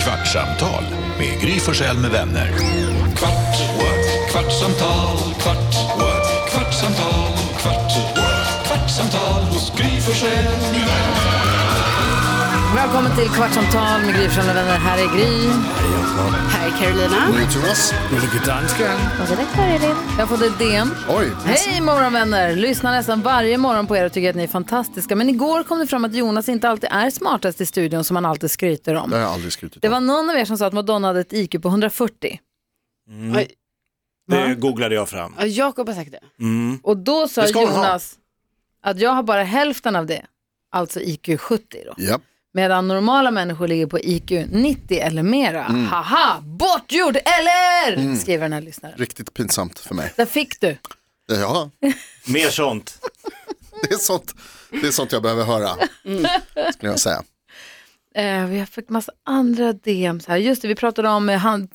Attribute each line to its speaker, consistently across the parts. Speaker 1: Kvartsamtal med Gry Forssell med vänner. Kvart, what? kvartsamtal, kvart, what? kvartsamtal, kvart, what? kvartsamtal hos Gry Forssell med vänner.
Speaker 2: Välkommen till Kvartsamtal med Gry Forssell med vänner. Här är Gry.
Speaker 3: Här är Carolina.
Speaker 4: Jonas.
Speaker 2: Jag har fått ett DM.
Speaker 4: Oj.
Speaker 2: Hej morgonvänner! Lyssnar nästan varje morgon på er och tycker att ni är fantastiska. Men igår kom det fram att Jonas inte alltid är smartast i studion som han alltid skryter
Speaker 4: Det
Speaker 2: om.
Speaker 4: har jag aldrig skrutit
Speaker 2: Det
Speaker 4: om.
Speaker 2: var någon av er som sa att Madonna hade ett IQ på 140.
Speaker 3: Oj,
Speaker 5: Det googlade jag fram.
Speaker 3: ja, Jakob har sagt det.
Speaker 2: Och då sa
Speaker 4: Det ska hon ha.
Speaker 2: Jonas att jag har bara hälften av det. Alltså IQ 70 då.
Speaker 4: Ja.
Speaker 2: Medan normala människor ligger på IQ 90 eller mera.
Speaker 4: Mm.
Speaker 2: Haha, bortgjord eller? Skriver den här lyssnaren.
Speaker 4: Riktigt pinsamt för mig. Eh,
Speaker 2: Där fick du.
Speaker 4: Ja,
Speaker 5: Mer sånt.
Speaker 4: det är sånt, det är sånt jag behöver höra. Skulle jag säga.
Speaker 2: Eh, vi har fått massa andra DM. Så här. Just det, vi pratade om eh, hand,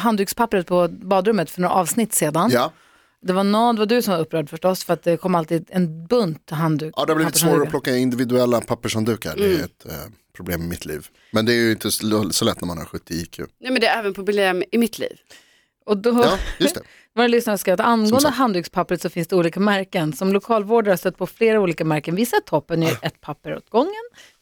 Speaker 2: handdukspappret på badrummet för några avsnitt sedan.
Speaker 4: Ja.
Speaker 2: Det var någon, det var du som var upprörd förstås, för att det kom alltid en bunt handduk.
Speaker 4: ja, det har blivit svårare att
Speaker 2: pappershanddukar.
Speaker 4: plocka individuella pappershanddukar. Det är ett eh, problem i mitt liv. Men det är ju inte så så lätt när man har 70 IQ.
Speaker 3: Nej men det är även problem i mitt liv.
Speaker 2: Och då
Speaker 4: Ja, just det.
Speaker 2: var det lyssnare som skrev att angående
Speaker 4: sagt.
Speaker 2: handdukspappret så finns det olika märken. Som lokalvårdare har jag stött på flera olika märken. Vissa är toppen, är ett papper åt gången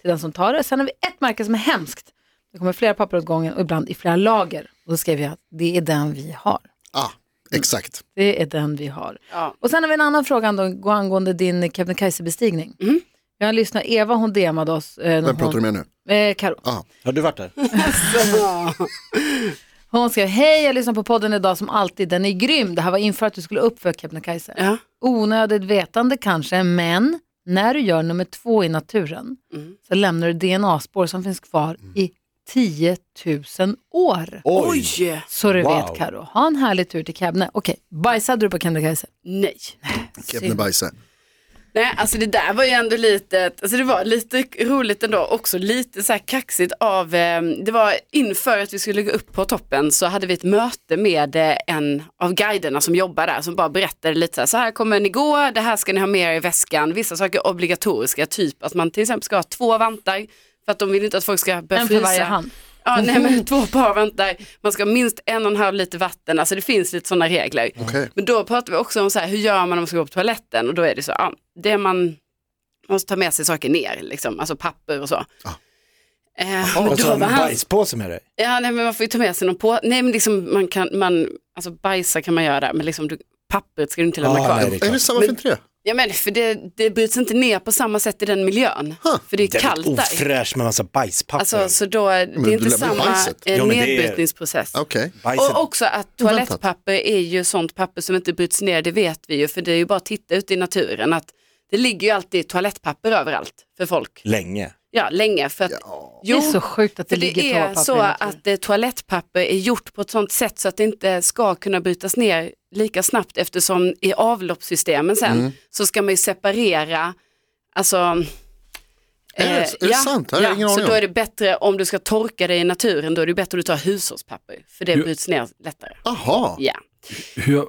Speaker 2: till den som tar det. Sen har vi ett märke som är hemskt. Det kommer flera papper åt gången och ibland i flera lager. Och då skrev jag att det är den vi har.
Speaker 4: Ah, exakt.
Speaker 2: Det är den vi har.
Speaker 3: Ja.
Speaker 2: Och sen har vi en annan fråga ang- angående din Kebnekaise-bestigning. Vi har en lyssnare, Eva, hon DMade oss. Eh,
Speaker 4: Mm. Vem pratar du med nu? Ah,
Speaker 2: med? Eh, Karo.
Speaker 5: Har du varit där?
Speaker 2: Hon skrev, hej jag lyssnar på podden idag som alltid, den är grym. Det här var inför att du skulle upp för Kebnekaise.
Speaker 3: Ja.
Speaker 2: Onödigt vetande kanske, men när du gör nummer två i naturen
Speaker 4: Mm.
Speaker 2: så lämnar du DNA-spår som finns kvar i 10 000 år.
Speaker 3: Oj.
Speaker 2: Så du
Speaker 5: Wow.
Speaker 2: vet Karo, ha en härlig tur till Kebne. Okej, bajsade du på Kebnekaise?
Speaker 3: Nej.
Speaker 4: Kebnebajse.
Speaker 3: Nej, alltså det där var ju ändå lite, alltså det var lite roligt ändå, också lite så här kaxigt av, eh, det var inför att vi skulle gå upp på toppen så hade vi ett möte med eh, en av guiderna som jobbar där som bara berättade lite så här, så här kommer ni gå, det här ska ni ha med er i väskan, vissa saker är obligatoriska, typ att man till exempel ska ha två vantar för att de vill inte att folk ska börja
Speaker 2: En för varje
Speaker 3: frysa.
Speaker 2: hand.
Speaker 3: Ja, nej, men två par vantar, man ska ha minst en och en halv liter vatten, alltså det finns lite sådana regler.
Speaker 4: Okej.
Speaker 3: Men då pratar vi också om så här, hur gör man om man ska gå på toaletten? Och då är det så, ja, det man man måste ta med sig saker ner, liksom, alltså papper och så.
Speaker 4: Ah.
Speaker 3: Eh, men
Speaker 5: Alltså
Speaker 3: då
Speaker 5: en
Speaker 3: var han,
Speaker 5: bajspåse med dig?
Speaker 3: ja, nej, men man får ju ta med sig någon på, nej men liksom man kan, man, alltså bajsa kan man göra där, men liksom du, papperet ska du inte lämna
Speaker 5: Ah,
Speaker 3: kvar.
Speaker 5: nej, det
Speaker 4: Är det samma för inte det?
Speaker 3: Ja men för det, det bryts inte ner på samma sätt i den miljön, för det är kallt där.
Speaker 5: Ofräsch med massa bajspapper.
Speaker 3: Alltså så då, det är
Speaker 4: du
Speaker 3: inte
Speaker 4: lämnar ju
Speaker 3: samma
Speaker 4: bajset.
Speaker 3: eh,
Speaker 5: Ja, men det är-
Speaker 3: nedbrytningsprocess.
Speaker 4: Okej.
Speaker 5: Bajset.
Speaker 3: Och också att toalettpapper är ju sånt papper som inte bryts ner, det vet vi ju, för det är ju bara att titta ut i naturen att det ligger ju alltid toalettpapper överallt för folk.
Speaker 5: Länge.
Speaker 3: Ja, länge. För att, jo,
Speaker 2: det är så sjukt att det,
Speaker 3: för det
Speaker 2: ligger
Speaker 3: är
Speaker 2: två
Speaker 3: så
Speaker 2: papper i naturen.
Speaker 3: att eh, toalettpapper är gjort på ett sånt sätt så att det inte ska kunna brytas ner lika snabbt eftersom i avloppssystemen sen
Speaker 4: Mm.
Speaker 3: så ska man ju separera, alltså
Speaker 4: Är det-
Speaker 3: eh,
Speaker 4: är det sant? Det har jag ingen
Speaker 3: så
Speaker 4: aning
Speaker 3: då
Speaker 4: om.
Speaker 3: är det bättre om du ska torka dig i naturen, då är det bättre att du tar hushållspapper, för det bryts ner lättare.
Speaker 4: Aha.
Speaker 3: Ja.
Speaker 6: Hør,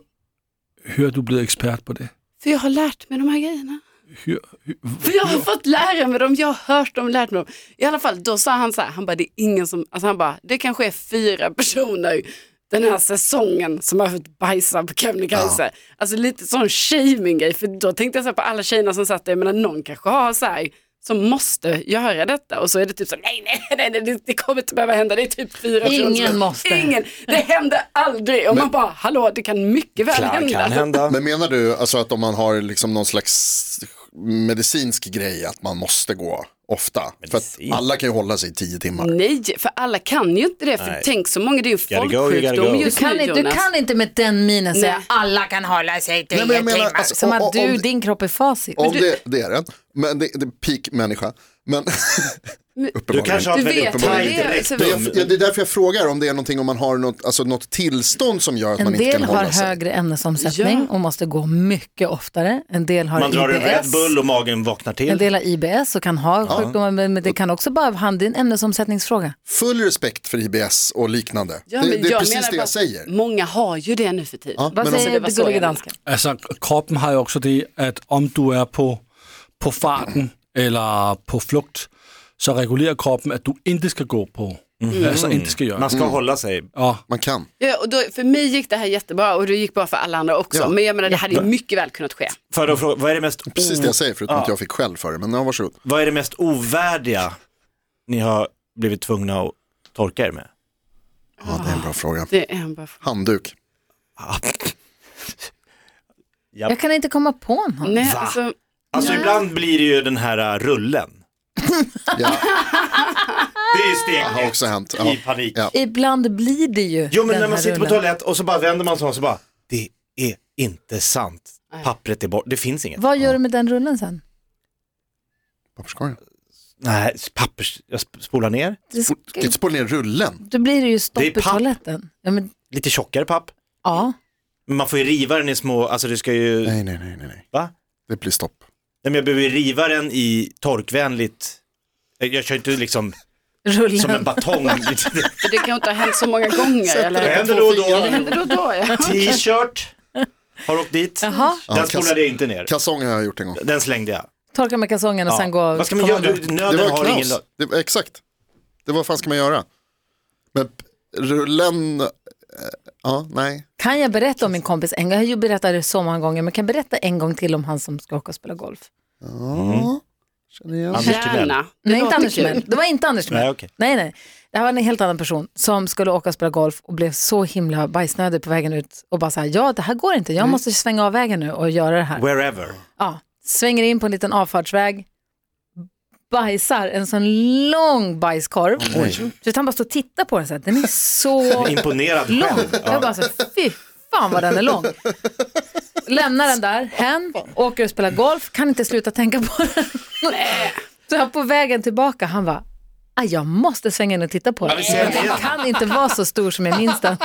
Speaker 6: hør, du er blevet ekspert på det.
Speaker 3: För jag har lärt mig de här grejerna.
Speaker 6: Hør, hør,
Speaker 3: För jag har fått lära mig dem, jag har hört dem, lärt mig dem. I alla fall, då sa han så här, han bara, det är ingen som, alltså han bara, det kanske är fyra personer den här säsongen som har fått bajsa på Kebnekaise. Alltså lite sån shaming-grej, för då tänkte jag så här på alla tjejerna som satt där, jag menar någon kanske har så här, som måste göra detta och så är det typ så här, nej, nej, nej, nej, det, det kommer inte behöva hända, det är typ fyra personer.
Speaker 2: Ingen
Speaker 3: som-
Speaker 2: måste.
Speaker 3: Ingen, det händer aldrig. Och man bara, hallå, det kan mycket väl
Speaker 5: Klart
Speaker 3: hända.
Speaker 5: kan hända.
Speaker 4: Men menar du alltså att om man har liksom någon slags medicinsk grej att man måste gå ofta? För
Speaker 5: Medicin?
Speaker 4: att alla kan ju hålla sig i tio timmar.
Speaker 3: Nej, för alla kan ju inte det. För
Speaker 5: Nej.
Speaker 3: tänk så många, det är ju
Speaker 5: Gotta go, you gotta
Speaker 3: folksjukdom
Speaker 5: go.
Speaker 2: Du
Speaker 3: just
Speaker 2: kan,
Speaker 3: nu
Speaker 2: inte, du
Speaker 3: Jonas.
Speaker 2: kan inte med den minen säga
Speaker 3: Nej.
Speaker 2: alla kan hålla sig till
Speaker 4: Nej, men jag menar,
Speaker 2: timmar.
Speaker 4: alltså,
Speaker 2: Som
Speaker 4: om-
Speaker 2: att
Speaker 4: om-
Speaker 2: du,
Speaker 4: om-
Speaker 2: din kropp är facit.
Speaker 4: Om det, det är den. Men det, det är peak människa. Men
Speaker 5: Du
Speaker 4: uppenbarligen.
Speaker 5: kanske har
Speaker 3: Du
Speaker 5: ett väldigt
Speaker 3: vet vad det
Speaker 5: uppenbarligen
Speaker 3: är.
Speaker 5: direkt.
Speaker 4: Men
Speaker 3: Alltså,
Speaker 4: jag, ja, det är därför jag frågar om det är någonting om man har något, alltså något tillstånd som gör att
Speaker 2: En
Speaker 4: man inte
Speaker 2: del
Speaker 4: kan
Speaker 2: har
Speaker 4: hålla sig.
Speaker 2: högre ämnesomsättning och måste gå mycket oftare. En del har
Speaker 5: Man drar en Red
Speaker 2: IBS.
Speaker 5: Bull och magen vaknar
Speaker 2: En
Speaker 5: till.
Speaker 2: del har IBS och kan ha sjukdomar, men men det kan också bara handla om en ämnesomsättningsfråga.
Speaker 4: Full respekt för IBS och liknande.
Speaker 3: Ja,
Speaker 4: det,
Speaker 3: men
Speaker 4: det är
Speaker 3: jag
Speaker 4: precis
Speaker 3: menar
Speaker 4: det
Speaker 3: bara Mm.
Speaker 4: jag
Speaker 3: att
Speaker 4: säger.
Speaker 3: Många har ju det nu för tiden.
Speaker 4: Ja,
Speaker 2: Vad
Speaker 4: men om,
Speaker 2: säger
Speaker 3: var
Speaker 2: det
Speaker 3: så
Speaker 2: gullige
Speaker 3: jag
Speaker 2: dansken?
Speaker 6: Altså, kroppen har jo også det, at om du er på, på farten eller på flugt, så regulerer kroppen, at du ikke skal gå på Alltså inte ska göra.
Speaker 5: Man
Speaker 4: Mm.
Speaker 5: ska hålla sig.
Speaker 6: Ja,
Speaker 4: Man kan.
Speaker 3: Ja, och då, för mig gick det här jättebra och det gick bra för alla andra också.
Speaker 4: Ja.
Speaker 3: Men jag menar det hade ju mycket väl kunnat ske.
Speaker 5: För att fråga, vad är det mest,
Speaker 4: Precis
Speaker 5: o-
Speaker 4: det jag säger, förutom
Speaker 5: Ja.
Speaker 4: att jag fick skäll för det. Men ja, varsågod.
Speaker 5: vad är det mest ovärdiga ni har blivit tvungna att torka er med?
Speaker 4: Ja, det är en bra fråga.
Speaker 3: Det är en bra fråga.
Speaker 4: Handduk.
Speaker 5: Ja.
Speaker 2: Jag kan inte komma på någon.
Speaker 3: Nej,
Speaker 5: Va?
Speaker 3: alltså,
Speaker 5: Alltså ibland blir det ju den här äh, rullen.
Speaker 4: Ja,
Speaker 5: Det är ju
Speaker 4: det har
Speaker 5: steget
Speaker 4: också hänt. Ja.
Speaker 5: i panik.
Speaker 4: Ja.
Speaker 2: Ibland blir det ju
Speaker 5: Jo men
Speaker 2: den
Speaker 5: när man
Speaker 2: här
Speaker 5: sitter på
Speaker 2: rullen.
Speaker 5: toalett och så bara vänder man sig om och så bara, det är inte sant. Pappret är bort, det finns inget.
Speaker 2: Vad gör du med den rullen sen?
Speaker 4: Papperskorgen.
Speaker 5: Nej, pappers, jag sp- spolar ner,
Speaker 2: Det,
Speaker 4: Spol- Ska inte spola ner rullen.
Speaker 2: då blir det ju stopp
Speaker 5: Det
Speaker 2: i
Speaker 5: är papp.
Speaker 2: toaletten. Ja, men,
Speaker 5: lite tjockare papp.
Speaker 2: ja.
Speaker 5: Men man får ju riva den i små, alltså det ska ju,
Speaker 4: Nej, nej, nej, nej, nej.
Speaker 5: va?
Speaker 4: Det blir stopp.
Speaker 5: Nej men jag behöver ju riva den i torkvänligt, jag jag kör inte liksom
Speaker 2: Rullen.
Speaker 5: som en batong.
Speaker 3: för det kan ju inte ha hänt så många gånger. eller?
Speaker 5: det händer då och då.
Speaker 3: Ja, Det händer då och då, ja.
Speaker 5: T-shirt, har åkt dit.
Speaker 2: Jaha,
Speaker 4: Ja,
Speaker 5: Den spolade jag inte ner,
Speaker 4: Kalsonger har jag gjort en gång.
Speaker 5: den slängde jag.
Speaker 2: torka med kalsongen och
Speaker 5: Ja.
Speaker 2: sen gå
Speaker 5: Vad ska man
Speaker 2: komma
Speaker 5: göra?
Speaker 2: hem.
Speaker 5: Du,
Speaker 4: Det
Speaker 5: nöden
Speaker 4: var
Speaker 5: har ingen
Speaker 4: knas.
Speaker 5: lag.
Speaker 4: Det, var- exakt. Det var vad fan ska man göra? Men p- rullen, eh, ja, nej.
Speaker 2: Kan jag berätta om min kompis en gång? Jag har ju berättat det så många gånger, men kan jag berätta en gång till om han som ska åka och spela golf?
Speaker 4: Ja, känner igen.
Speaker 5: Anders Timell.
Speaker 3: Gärna. Det
Speaker 2: Nej, inte
Speaker 3: låter
Speaker 2: Anders
Speaker 3: kul.
Speaker 2: Timell. Det var inte Anders Timell.
Speaker 5: Nej, okej.
Speaker 2: nej, nej. Det här var en helt annan person som skulle åka och spela golf och blev så himla bajsnödig på vägen ut och bara så här, ja det här går inte, jag måste svänga av vägen nu och göra det här.
Speaker 5: Wherever.
Speaker 2: Ja, svänger in på en liten avfartsväg, bajsar en sån lång bajskorv. Så att han bara står och tittar på den så här, den är så
Speaker 5: Imponerad
Speaker 2: lång.
Speaker 5: själv.
Speaker 2: Jag bara så, fy fan vad den är lång. Lämnar den där hem, åker och spelar golf, kan inte sluta tänka på den. Så han på vägen tillbaka, han bara, "Aj, jag måste svänga in och titta på den.
Speaker 5: vi ser den
Speaker 2: Den
Speaker 5: igen."
Speaker 2: kan inte vara så stor som jag minns den.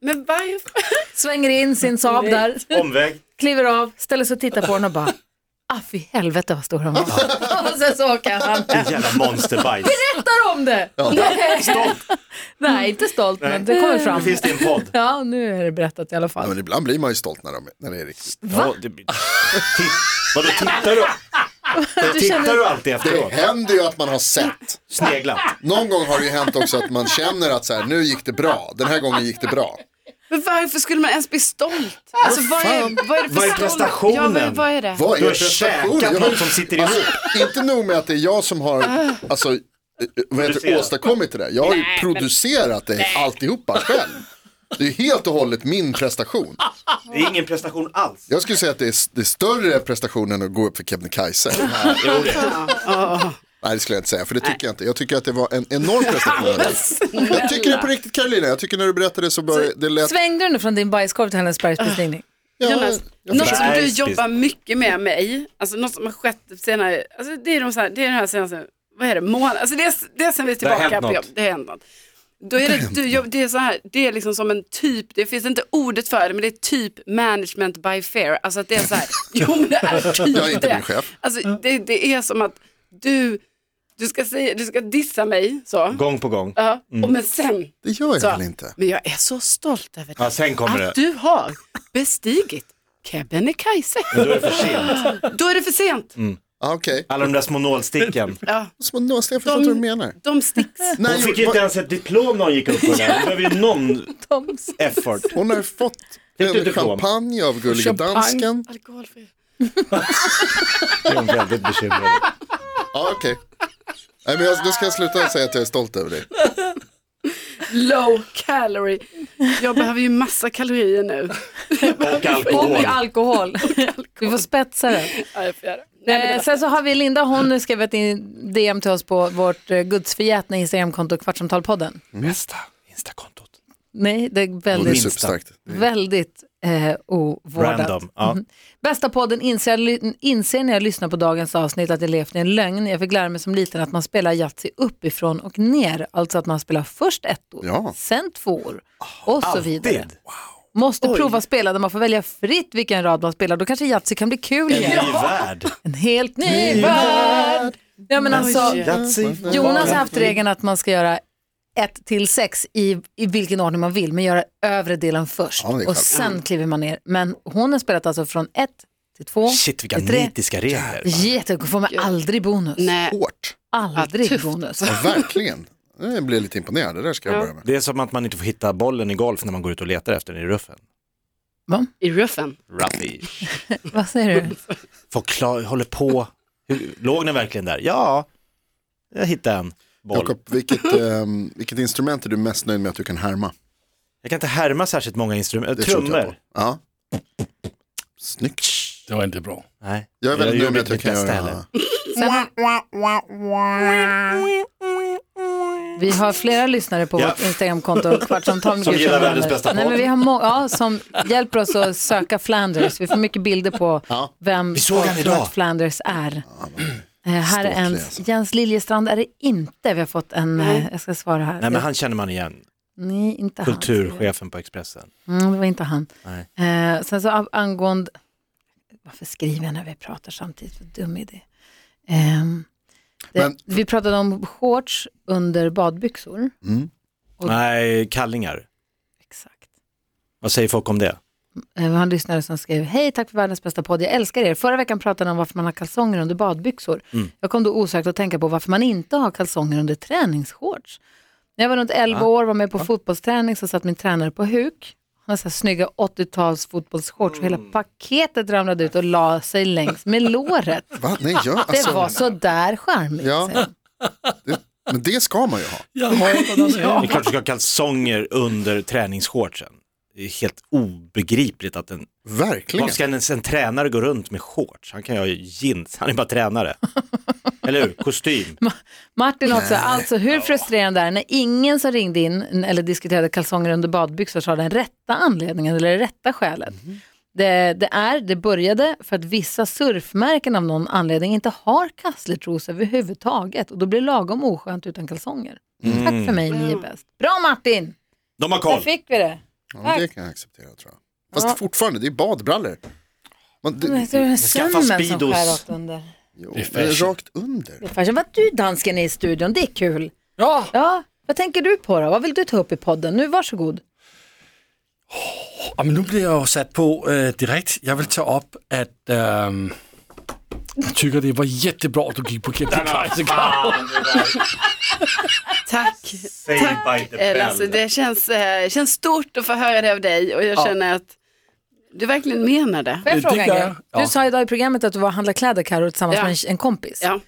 Speaker 3: Men varför?
Speaker 2: Svänger in sin Saab där,
Speaker 5: Omväg.
Speaker 2: kliver av, ställer sig och tittar på den och bara, ah fy helvete vad stor den var. Och sen så åker han hem.
Speaker 5: Jävla monsterbajs.
Speaker 2: Berättar om det! Nej. Nej, inte stolt, men det kommer fram.
Speaker 5: Nu finns det en podd.
Speaker 2: Ja, nu är det berättat i alla
Speaker 4: Ja,
Speaker 2: fall.
Speaker 4: men ibland blir man ju stolt när, de, när det är riktigt.
Speaker 5: Ja, det... Titt- Vadå, tittar du? Tittar du alltid
Speaker 4: Det
Speaker 5: efteråt?
Speaker 4: händer ju att man har sett.
Speaker 5: Sneglat.
Speaker 4: Någon gång har det ju hänt också att man känner att så här, nu gick det bra. Den här gången gick det bra.
Speaker 3: Men varför skulle man ens bli stolt? Alltså, vad, är, vad är det för
Speaker 5: Vad är
Speaker 3: stolt-
Speaker 5: prestationen?
Speaker 3: Ja, vad, vad är det?
Speaker 4: Vad
Speaker 5: Du
Speaker 4: är
Speaker 5: har
Speaker 4: prestation?
Speaker 5: käkat
Speaker 4: Jag- Alltså,
Speaker 5: något som sitter ihop.
Speaker 4: Inte nog med att det är jag som har alltså, eh, vad heter, det,
Speaker 5: Producerat.
Speaker 4: åstadkommit det där. Jag har ju
Speaker 3: Ah. Nej, men-
Speaker 4: producerat det alltihopa själv. Det är ju helt och hållet min prestation.
Speaker 5: Det är ingen prestation alls.
Speaker 4: Jag skulle säga att det är, det är större prestation än att gå upp för Kebnekaise.
Speaker 5: Jo, det.
Speaker 4: Nej det skulle jag inte säga, för det tycker jag inte. Jag tycker att det var en enorm prestation. jag tycker det på riktigt Carolina, jag tycker när du berättade så bara, det lät...
Speaker 2: Svängde du nu från din bajskorv till Hällingsbergsbestigning?
Speaker 4: Ja,
Speaker 3: Jonas,
Speaker 4: jag
Speaker 3: något
Speaker 4: försöker.
Speaker 3: som du
Speaker 5: Nej,
Speaker 3: jobbar mycket med mig, alltså något som har skett senare, alltså det är de, så här, det är de här senaste, vad är det, månaden, alltså det är, det är sen vi är
Speaker 5: Det har
Speaker 3: tillbaka
Speaker 5: hänt
Speaker 3: på
Speaker 5: något.
Speaker 3: jobb, det har hänt något. Då är det, du, jobb, det är så här, det är liksom som en typ, det finns inte ordet för det, men det är typ management by fear, alltså att det är så här, jo men det är typ
Speaker 4: Jag är inte
Speaker 3: det.
Speaker 4: din chef.
Speaker 3: Alltså det, det är som att du, du ska säga, du ska dissa mig så,
Speaker 5: Gång på gång.
Speaker 3: ja, och men sen,
Speaker 4: Mm. det gör
Speaker 3: så,
Speaker 4: jag väl inte.
Speaker 3: men jag är så stolt över det
Speaker 5: Ja, sen kommer det.
Speaker 3: att du har bestigit Kebnekaise.
Speaker 5: Men då är det för sent.
Speaker 3: Då är det för sent.
Speaker 5: Mm.
Speaker 4: Ah, Okej,
Speaker 5: Alla de där små nålsticken.
Speaker 3: Ja,
Speaker 4: små nålstiga, jag förstår inte vad du menar.
Speaker 3: de sticks.
Speaker 4: Nej,
Speaker 5: Hon fick ju inte ens ett diplom när hon gick upp på den. Det behöver ju någon effort.
Speaker 4: Hon har fått
Speaker 5: du
Speaker 4: en
Speaker 5: diplom?
Speaker 4: champagne av gulliga dansken.
Speaker 3: Alkoholfri.
Speaker 5: Det är hon väldigt bekymrad.
Speaker 4: Ja, okej. Nej, men jag, då ska jag sluta säga att jag är stolt över dig.
Speaker 3: Low calorie. Jag behöver ju massa kalorier nu.
Speaker 5: Och alkohol.
Speaker 2: alkohol. Vi får spetsa det.
Speaker 3: Ja, jag får göra det. Nej, men det
Speaker 2: Eh,
Speaker 3: var-
Speaker 2: sen så har vi Linda, hon har skrivit in DM till oss på vårt eh, gudsförgätna Instagramkonto Kvartsamtalpodden.
Speaker 5: Bästa Instakontot.
Speaker 2: Nej, det är
Speaker 4: Och det är
Speaker 2: väldigt,
Speaker 5: minsta.
Speaker 4: superstarkt.
Speaker 2: väldigt eh, ovårdat.
Speaker 5: Mm.
Speaker 2: Mm-hmm.
Speaker 5: Random. Ja.
Speaker 2: Bästa podden inser, ly- inser när jag lyssnar på dagens avsnitt att jag levt i en lögn. Jag fick lära mig som liten att man spelar Yatzy uppifrån och ner. Alltså att man spelar först ett ord,
Speaker 4: Ja.
Speaker 2: sen två ord och så vidare.
Speaker 5: Ah, Alltid.
Speaker 2: Måste prova spela där man får välja fritt vilken rad man spelar. Då kanske Yatzy kan bli kul
Speaker 5: En
Speaker 2: igen.
Speaker 5: ny värld.
Speaker 2: En helt ny värld. Ja, men alltså,
Speaker 3: Oj.
Speaker 5: Yatzy.
Speaker 2: Jonas har haft regeln att man ska göra ett till sex i, i vilken ordning man vill, men göra övre delen först.
Speaker 4: Ja, det är
Speaker 2: och
Speaker 4: klart.
Speaker 2: sen kliver man ner. Men hon har spelat alltså från ett till två
Speaker 5: Shit vilka
Speaker 2: till tre.
Speaker 5: nitiska regler.
Speaker 2: Jättegod, får man aldrig bonus.
Speaker 3: Nej.
Speaker 4: Hårt.
Speaker 2: aldrig
Speaker 3: tufft.
Speaker 2: bonus.
Speaker 4: Ja, verkligen. Jag blev lite imponerad, det där ska jag börja med.
Speaker 5: Det är som att man inte får hitta bollen i golf när man går ut och letar efter den i ruffen.
Speaker 2: Va?
Speaker 3: I ruffen.
Speaker 5: Ruffy.
Speaker 2: Vad säger du?
Speaker 5: Folk klar, håller på. Hur, låg den verkligen där? Ja, jag hittade en boll.
Speaker 4: Jakob, vilket, ehm, vilket instrument är du mest nöjd med att du kan härma?
Speaker 5: Jag kan inte härma särskilt många instrument.
Speaker 4: Det
Speaker 5: Äh,
Speaker 4: tror jag på.
Speaker 5: trummor.
Speaker 4: Ja. Snyggt.
Speaker 6: Det var inte bra.
Speaker 5: Nej.
Speaker 4: Jag är väldigt nöjd
Speaker 5: gjorde
Speaker 4: med att jag
Speaker 5: mitt
Speaker 4: kan
Speaker 5: bästa
Speaker 4: göra
Speaker 5: heller.
Speaker 2: Vi har flera lyssnare på
Speaker 5: Ja.
Speaker 2: vårt Instagramkonto, Kvartsamtal med
Speaker 5: Som
Speaker 2: Gry
Speaker 5: gillar
Speaker 2: Forssell.
Speaker 5: världens bästa
Speaker 2: Nej,
Speaker 5: podd.
Speaker 2: men vi har må- ja, som hjälper oss att söka Flanders. Vi får mycket bilder på
Speaker 4: Ja.
Speaker 2: vem
Speaker 5: Vi såg han
Speaker 2: folk tror
Speaker 5: idag.
Speaker 2: att Flanders är. Eh, här är
Speaker 4: ståtlig
Speaker 2: en,
Speaker 4: alltså.
Speaker 2: Jens Liljestrand är det inte. Vi har fått en, eh, jag ska svara här.
Speaker 5: Nej, men han känner man igen.
Speaker 2: Nej, inte han.
Speaker 5: Kulturchefen på Expressen.
Speaker 2: Mm, det var inte han.
Speaker 5: Nej.
Speaker 2: Eh, sen så av- angående, varför skriver jag när vi pratar samtidigt? Vad dum idé. Ehm, det,
Speaker 4: Men-
Speaker 2: Vi pratade om shorts under badbyxor. Och-
Speaker 5: Nej, kallingar.
Speaker 2: Exakt.
Speaker 5: Vad säger folk om det?
Speaker 2: Eh, Vi har en lyssnare som skrev, hej tack för världens bästa podd, jag älskar er. Förra veckan pratade ni om varför man har kalsonger under badbyxor.
Speaker 4: Mm.
Speaker 2: Jag kom då osökt att tänka på varför man inte har kalsonger under träningsshorts. När jag var runt 11
Speaker 4: Ah.
Speaker 2: år var med på fotbollsträning så satt min tränare på huk. Han hade så här snygga 80-tals fotbollsshorts och hela
Speaker 4: Mm.
Speaker 2: paketet ramlade ut och la sig längs med låret.
Speaker 4: Va? Nej, jag,
Speaker 2: Det
Speaker 4: alltså,
Speaker 2: var så där charmigt.
Speaker 4: Ja.
Speaker 2: säger han.
Speaker 4: men det ska man ju ha.
Speaker 6: Jag hatade det.
Speaker 5: Det är klart du ska ha kalsonger under träningsshortsen. Det är helt obegripligt att en...
Speaker 4: Verkligen.
Speaker 5: Vad ska en, en tränare gå runt med shorts? Han kan ju ha jeans, han är bara tränare. Eller hur? Kostym.
Speaker 2: Martin också, alltså hur frustrerande är det när ingen som ringde in eller diskuterade kalsonger under badbyxor sa den rätta anledningen eller det rätta skälet.
Speaker 5: Mhm.
Speaker 2: Det, det, är, det började för att vissa surfmärken av någon anledning inte har kasslertros överhuvudtaget och då blir det lagom oskönt utan kalsonger. Tack för mig, ni är bäst. Bra Martin,
Speaker 5: De har
Speaker 2: där
Speaker 5: Mm. koll.
Speaker 2: fick vi det.
Speaker 4: Ja, men det kan jag acceptera tror jag. Fast fortfarande, det är badbrallor. Man, det,
Speaker 2: Det är
Speaker 5: skaffa
Speaker 2: sömmen som
Speaker 5: Speedos.
Speaker 2: skär åt under.
Speaker 4: jo,
Speaker 6: Det är
Speaker 4: det är
Speaker 6: fashion.
Speaker 4: rakt under.
Speaker 2: Farsan, vad du dansken är i studion, det är kul.
Speaker 6: Ja.
Speaker 2: Ja, vad tänker du på då? Vad vill du ta upp i podden? Nu, varsågod.
Speaker 6: Ja, men nu bliver jeg jo sat på øh, direkt. Jeg vil tage op, at øh, jeg tykker, det var jättebra, at du gik på Kebnekaise.
Speaker 3: Tack.
Speaker 5: Tack,
Speaker 3: Eh, Lasse, det känns, eh, känns stort att få höra det av dig och jag känner att du verkligen menar det.
Speaker 2: Får jag
Speaker 6: Det
Speaker 2: fråga en
Speaker 6: tycker
Speaker 2: grej?
Speaker 6: jag, ja.
Speaker 2: Du sa idag i programmet att du var och handlade kläder Karo, tillsammans
Speaker 3: Ja.
Speaker 2: med en- en kompis.
Speaker 3: Ja.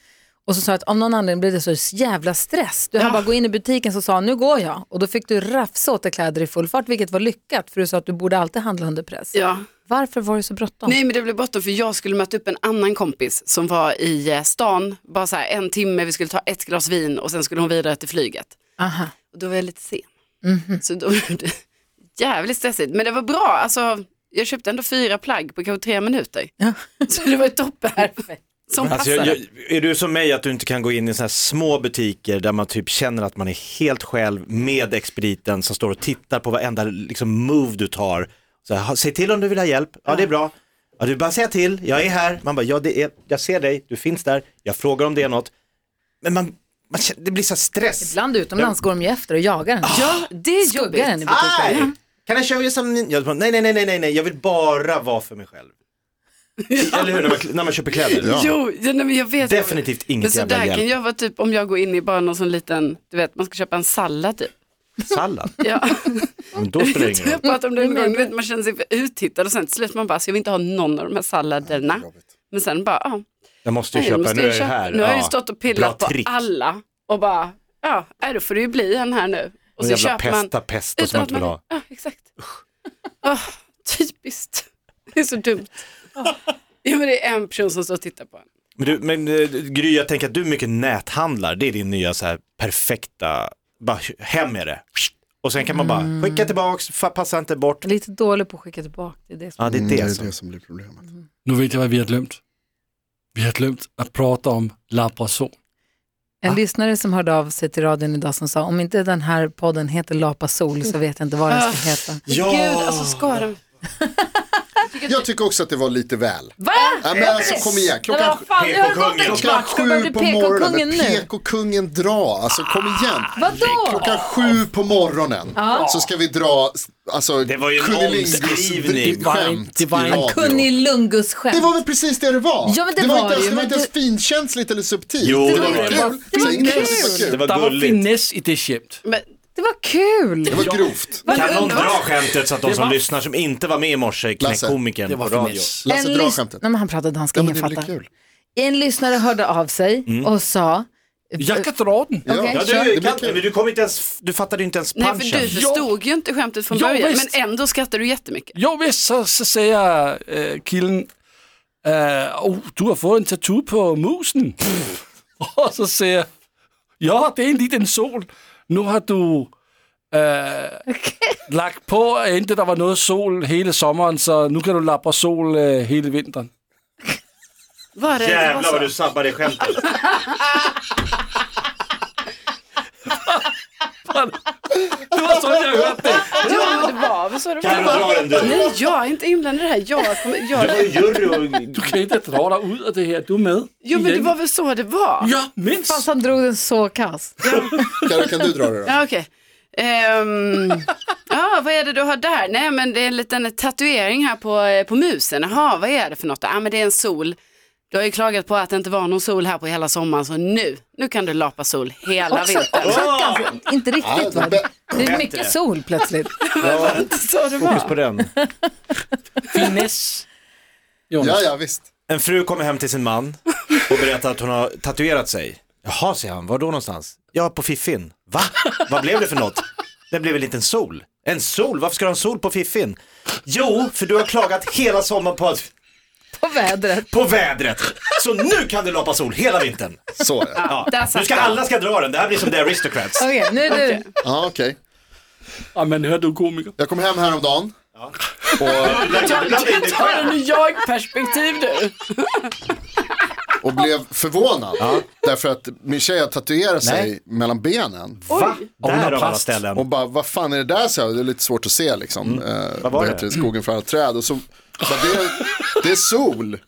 Speaker 2: Och så sa du att om någon anledning blev det så jävla stress. Du hann bara gå in i butiken så sa nu går jag. Och då fick du rafsa åt dig kläder i full fart vilket var lyckat för du sa att du borde alltid handla under press.
Speaker 3: Ja.
Speaker 2: Varför var det så bråttom?
Speaker 3: Nej men det blev bråttom för jag skulle möta upp en annan kompis som var i eh, stan, bara så här en timme, vi skulle ta ett glas vin och sen skulle hon vidare till flyget.
Speaker 2: Aha.
Speaker 3: Och då var jag lite sen. Så då blev det jävligt stressigt. Men det var bra, alltså jag köpte ändå fyra plagg på kanske tre minuter. Så det var ju toppen. Som
Speaker 5: Alltså,
Speaker 3: passade.
Speaker 5: jag, jag, är du som mig att du inte kan gå in i såna här små butiker där man typ känner att man är helt själv med expediten som står och tittar på varenda liksom, move du tar. Så här, "Ha, säg till om du vill ha hjälp, ja det är bra. Ja, du bara säga till, jag är här. Man bara, ja det är, jag ser dig, du finns där, jag frågar om det är något. Men man, man känner, det blir så här stress.
Speaker 2: Ibland utomlands går de ju efter och jagar den.
Speaker 3: Ja, det är
Speaker 2: Skuggar den i
Speaker 3: jobbigt.
Speaker 5: Aj!
Speaker 2: butiken.
Speaker 5: Kan jag köra ju som ni? Jag bara, Nej, nej, nej, nej, nej, nej, jag vill bara vara för mig själv. Eller hur, när man, när man köper kläder.
Speaker 4: Ja.
Speaker 3: Jo, ja, nej, men jag vet.
Speaker 5: Definitivt
Speaker 3: Men
Speaker 5: inget
Speaker 3: så
Speaker 5: jävla
Speaker 3: där kan
Speaker 5: hjälp.
Speaker 3: jag vara typ om jag går in i bara någon sån liten, du vet man ska köpa en sallad typ.
Speaker 5: Sallad,
Speaker 3: Ja.
Speaker 5: men då spelar det ingen roll.
Speaker 3: jag pratade om det en gång, du vet, man känner sig uttittad och sen till slut man bara, så jag vill inte ha någon av de här salladerna. Men sen bara, ja,
Speaker 5: Jag måste ju
Speaker 3: nej,
Speaker 5: köpa,
Speaker 3: jag måste
Speaker 5: nu
Speaker 3: ju
Speaker 5: är jag
Speaker 3: köpa.
Speaker 5: här.
Speaker 3: Nu har jag ju
Speaker 5: Ja.
Speaker 3: stått och pillat
Speaker 5: Bra
Speaker 3: på
Speaker 5: trick.
Speaker 3: alla och bara, ja, nej, då får det ju bli en här nu. Och
Speaker 5: Och
Speaker 3: så
Speaker 5: jävla
Speaker 3: köper man.
Speaker 5: pesta, pesto som man inte vill ha.
Speaker 3: ja, exakt. Ah, typiskt, det är så dumt. Ja, men det är en person som står och tittar på en.
Speaker 5: Men, du, men eh, Gry, jag tänker att du mycket näthandlar. Det är din nya så här perfekta, bara hem med det. Och sen kan man bara
Speaker 3: Mm.
Speaker 5: skicka tillbaks, fa- passa inte bort.
Speaker 2: Jag är lite dålig på att skicka tillbaka. Det är det som...
Speaker 5: Ja, det är
Speaker 4: Mm,
Speaker 5: det,
Speaker 4: det är
Speaker 5: som.
Speaker 4: det som blir problemet.
Speaker 6: nu vet jag, hvad vi har glemt. Vi har glemt at prate om Labrazon.
Speaker 2: En lyssnare som hörde av sig till radion idag som sa om inte den här podden heter Lapa Sol så vet jag inte vad den
Speaker 3: Ah.
Speaker 2: ska heta.
Speaker 5: Ja.
Speaker 3: Gud, alltså ska de...
Speaker 4: Jag tycker också att det var lite väl.
Speaker 2: Va?
Speaker 4: Ja, men alltså kom igen, klockan,
Speaker 2: fan, det har gått en
Speaker 4: klockan
Speaker 2: kvart. Ska man
Speaker 4: sju
Speaker 2: bli
Speaker 4: på morgonen,
Speaker 2: PK-kungen
Speaker 4: men
Speaker 2: nu?
Speaker 4: PK-kungen dra, alltså kom igen.
Speaker 2: Vadå?
Speaker 4: Klockan sju på morgonen så ska vi dra s- Alltså,
Speaker 5: Det var ju en omskrivning.
Speaker 4: Det var, skämt
Speaker 6: Det var
Speaker 4: i
Speaker 6: en
Speaker 4: radio.
Speaker 2: Kunnilingus-skämt.
Speaker 4: Det var väl precis det det var?
Speaker 2: Ja, men det
Speaker 4: var,
Speaker 2: var
Speaker 4: inte ens,
Speaker 2: det ju,
Speaker 4: det var
Speaker 2: men
Speaker 4: inte ens finkänsligt eller subtilt.
Speaker 5: Jo,
Speaker 4: det
Speaker 5: det
Speaker 4: var
Speaker 5: var
Speaker 2: det.
Speaker 4: kul.
Speaker 2: Det var
Speaker 4: Ingen tyckte
Speaker 2: kul.
Speaker 5: Det
Speaker 4: Det var,
Speaker 6: Der
Speaker 5: var
Speaker 6: var
Speaker 5: gulligt.
Speaker 6: finess i det skämt.
Speaker 3: Men,
Speaker 2: Det var kul.
Speaker 4: det var grovt.
Speaker 3: vad
Speaker 5: Kan någon
Speaker 3: underbart.
Speaker 5: dra skämtet så att de
Speaker 6: Det
Speaker 5: som
Speaker 6: var-
Speaker 5: lyssnar som inte var med i morse knäck
Speaker 4: Lasse,
Speaker 5: komikern
Speaker 6: Det
Speaker 5: på
Speaker 6: var
Speaker 5: radio?
Speaker 6: finess.
Speaker 4: Lasse,
Speaker 2: En
Speaker 4: dra
Speaker 2: lys-
Speaker 4: skämtet.
Speaker 2: Nej, men han pratade danska,
Speaker 4: Ja, men
Speaker 2: ingen
Speaker 4: det blir
Speaker 2: fattar.
Speaker 4: kul.
Speaker 2: En lyssnare hörde av sig och sa,
Speaker 6: Jag kan dra den.
Speaker 4: Ja,
Speaker 2: Okej,
Speaker 5: Ja,
Speaker 2: Kör.
Speaker 5: du,
Speaker 4: blir
Speaker 5: kan, men du, kom inte ens, du fattade ju inte ens
Speaker 3: Nej, för
Speaker 5: punchen.
Speaker 3: du förstod ju inte skämtet från
Speaker 6: Ja,
Speaker 3: början,
Speaker 6: visst.
Speaker 3: men ändå skrattar du jättemycket.
Speaker 6: Jo visst, så, så säger äh, killen, äh, oh, du har fått en tattoo på musen. och så säger jag, ja det är en liten sol. Nu har du äh, lagt på, äh, inte det var något sol hela sommaren så nu kan du lappa sol äh, hela vintern.
Speaker 3: Var det, det var
Speaker 5: Jävlar
Speaker 3: så?
Speaker 5: vad du sabbade skämtet.
Speaker 6: Det var så jag hörde det.
Speaker 3: Ja, men det var väl så det
Speaker 5: Kan du
Speaker 3: var.
Speaker 5: dra den du?
Speaker 3: Nej, jag är inte inblandad i det här. Jag kommer,
Speaker 5: Du var ju
Speaker 3: jag,
Speaker 5: jury och...
Speaker 6: Du kan inte dra dig ut av det här, du är med.
Speaker 3: jo, men det
Speaker 6: Igen.
Speaker 3: var väl så det var?
Speaker 6: Ja, minst.
Speaker 2: fast han drog den så kass.
Speaker 4: Karo, kan du dra det då?
Speaker 3: Ja, okej. Ehm, ja, vad är det du har där? Nej, men det är en liten tatuering här på, eh, på musen. Jaha, vad är det för något? Ja, men det är en sol. Du har ju klagat på att det inte var någon sol här på hela sommaren, så nu, nu kan du lapa sol hela
Speaker 2: Också,
Speaker 3: vintern.
Speaker 2: också ganska, inte
Speaker 4: Ja,
Speaker 2: riktigt
Speaker 4: det är
Speaker 2: va?
Speaker 4: bä-
Speaker 2: Det är mycket sol plötsligt.
Speaker 5: Fokus på den.
Speaker 6: Finess. Jonas.
Speaker 4: Ja, ja, visst.
Speaker 5: En fru kommer hem till sin man och berättar att hon har tatuerat sig. Jaha, säger han, var då någonstans? Ja, på fiffin. Va? Vad blev det för något? Det blev en liten sol. En sol? Varför ska du ha en sol på fiffin? Jo, för du har klagat hela sommaren på, att,
Speaker 2: På vädret.
Speaker 5: på vädret. Så nu kan du lapa sol hela vintern.
Speaker 4: Så ja.
Speaker 5: Ja.
Speaker 3: där satt
Speaker 5: Nu ska
Speaker 3: den.
Speaker 5: alla ska dra den, det här blir som The Aristocrats.
Speaker 2: Okej, nu är det du.
Speaker 4: Ja, okej.
Speaker 6: Ja, men hör du komiker.
Speaker 4: Jag kom hem häromdagen.
Speaker 3: Har du nu jag-perspektiv du?
Speaker 4: och blev förvånad. Därför att min tjej har tatuerat sig mellan benen.
Speaker 5: Va?
Speaker 6: hon har
Speaker 5: Där av alla
Speaker 6: plast.
Speaker 5: ställen.
Speaker 4: Och bara, vad fan är det där? Så jag, det är lite svårt att se liksom. Eh, vad
Speaker 5: var det?
Speaker 4: heter Skogen för alla träd. Och så, bara, det, är, det är sol.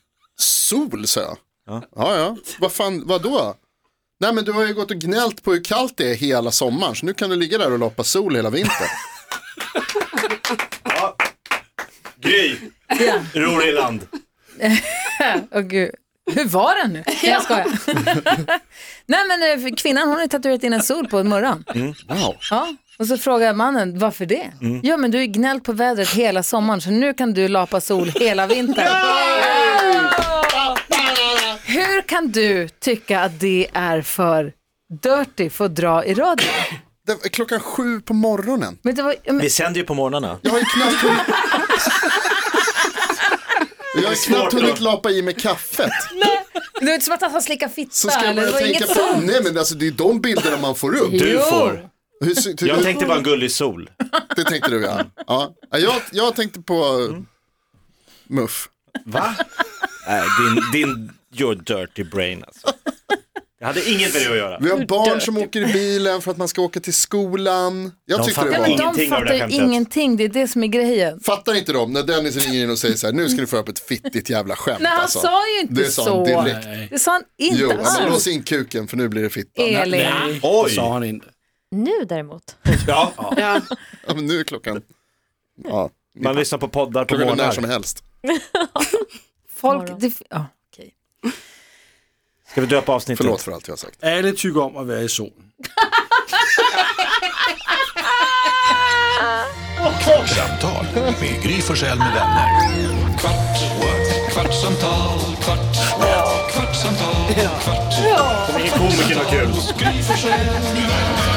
Speaker 4: Sol, sa jag. Ja, ja. Vad fan, vadå? Nej, men du har ju gått och gnällt på hur kallt det är hela sommaren. Så nu kan du ligga där och loppa sol hela vintern.
Speaker 5: Gry, Roriland.
Speaker 2: Åh gud. Hur var den nu? Nej, Jag skojar. Nej men eh, för kvinnan hon har ju tatuerat in en sol på morgonen.
Speaker 4: Wow.
Speaker 2: Ja. Och så frågar mannen, varför det? Ja men du har ju gnällt på vädret hela sommaren så nu kan du lapa sol hela vintern. Hur kan du tycka att det är för dirty för att dra i radio?
Speaker 4: Det var klockan sju på morgonen.
Speaker 2: Men det var, men,
Speaker 5: Vi sänder ju på morgnarna.
Speaker 4: Jag har ju knappt hunnit... Jag har knappt hunnit lapa i mig kaffet.
Speaker 2: det var inte som att han slickade
Speaker 4: Så
Speaker 2: fitta
Speaker 4: ska jag
Speaker 2: eller det
Speaker 4: börja
Speaker 2: var
Speaker 4: tänka
Speaker 2: inget
Speaker 4: på,
Speaker 2: sånt.
Speaker 4: nej men alltså det är de bilderna man får upp.
Speaker 5: Du
Speaker 2: Jo.
Speaker 5: får.
Speaker 4: Hur, sy- hur,
Speaker 5: Jag tänkte bara en gullig sol.
Speaker 4: Det tänkte du ja. ja. Ja, Jag, jag tänkte på eh,
Speaker 5: Mm.
Speaker 4: Muff.
Speaker 5: Va? Nej, din, din, your dirty brain alltså. Jag hade inget med det att göra.
Speaker 4: Vi har barn som åker i bilen för att man ska åka till skolan. Jag
Speaker 5: De
Speaker 4: tyckte det
Speaker 5: fattar
Speaker 2: Nej,
Speaker 4: var...
Speaker 2: men
Speaker 5: ingenting
Speaker 2: de
Speaker 5: av det där
Speaker 2: fattar ju
Speaker 5: skämtet.
Speaker 2: ingenting, det är det som är grejen.
Speaker 4: Fattar inte de när Dennis ringer in och säger så här, nu ska ni få upp ett fittigt jävla skämt.
Speaker 2: Nej han
Speaker 4: alltså.
Speaker 2: sa ju inte
Speaker 4: Det sa han
Speaker 2: så.
Speaker 4: direkt.
Speaker 2: Det sa han inte
Speaker 4: Jo, ja, men
Speaker 2: alls. Eh.
Speaker 4: lås in kuken för nu blir det fitta.
Speaker 2: Elin.
Speaker 6: Nej,
Speaker 5: Oj.
Speaker 6: det sa han inte.
Speaker 7: Nu däremot.
Speaker 5: Ja,
Speaker 3: Ja.
Speaker 4: Ja, men nu är klockan, ja,
Speaker 5: man lyssnar på poddar på
Speaker 4: klockan är när
Speaker 5: morgnar.
Speaker 4: som helst.
Speaker 2: Folk, det, ja, okej.
Speaker 5: Ska vi döpa avsnittet?
Speaker 4: Förlåt för allt jag har sagt.
Speaker 6: Alla tycker om att vara i solen.
Speaker 1: Kvartsamtal med Gry Forssell med vänner. Kvart, what? kvartsamtal, kvart, what? kvartsamtal, kvart, what?
Speaker 5: Kommer ingen komiker ha kul?
Speaker 1: hos Gry Forssell med vänner.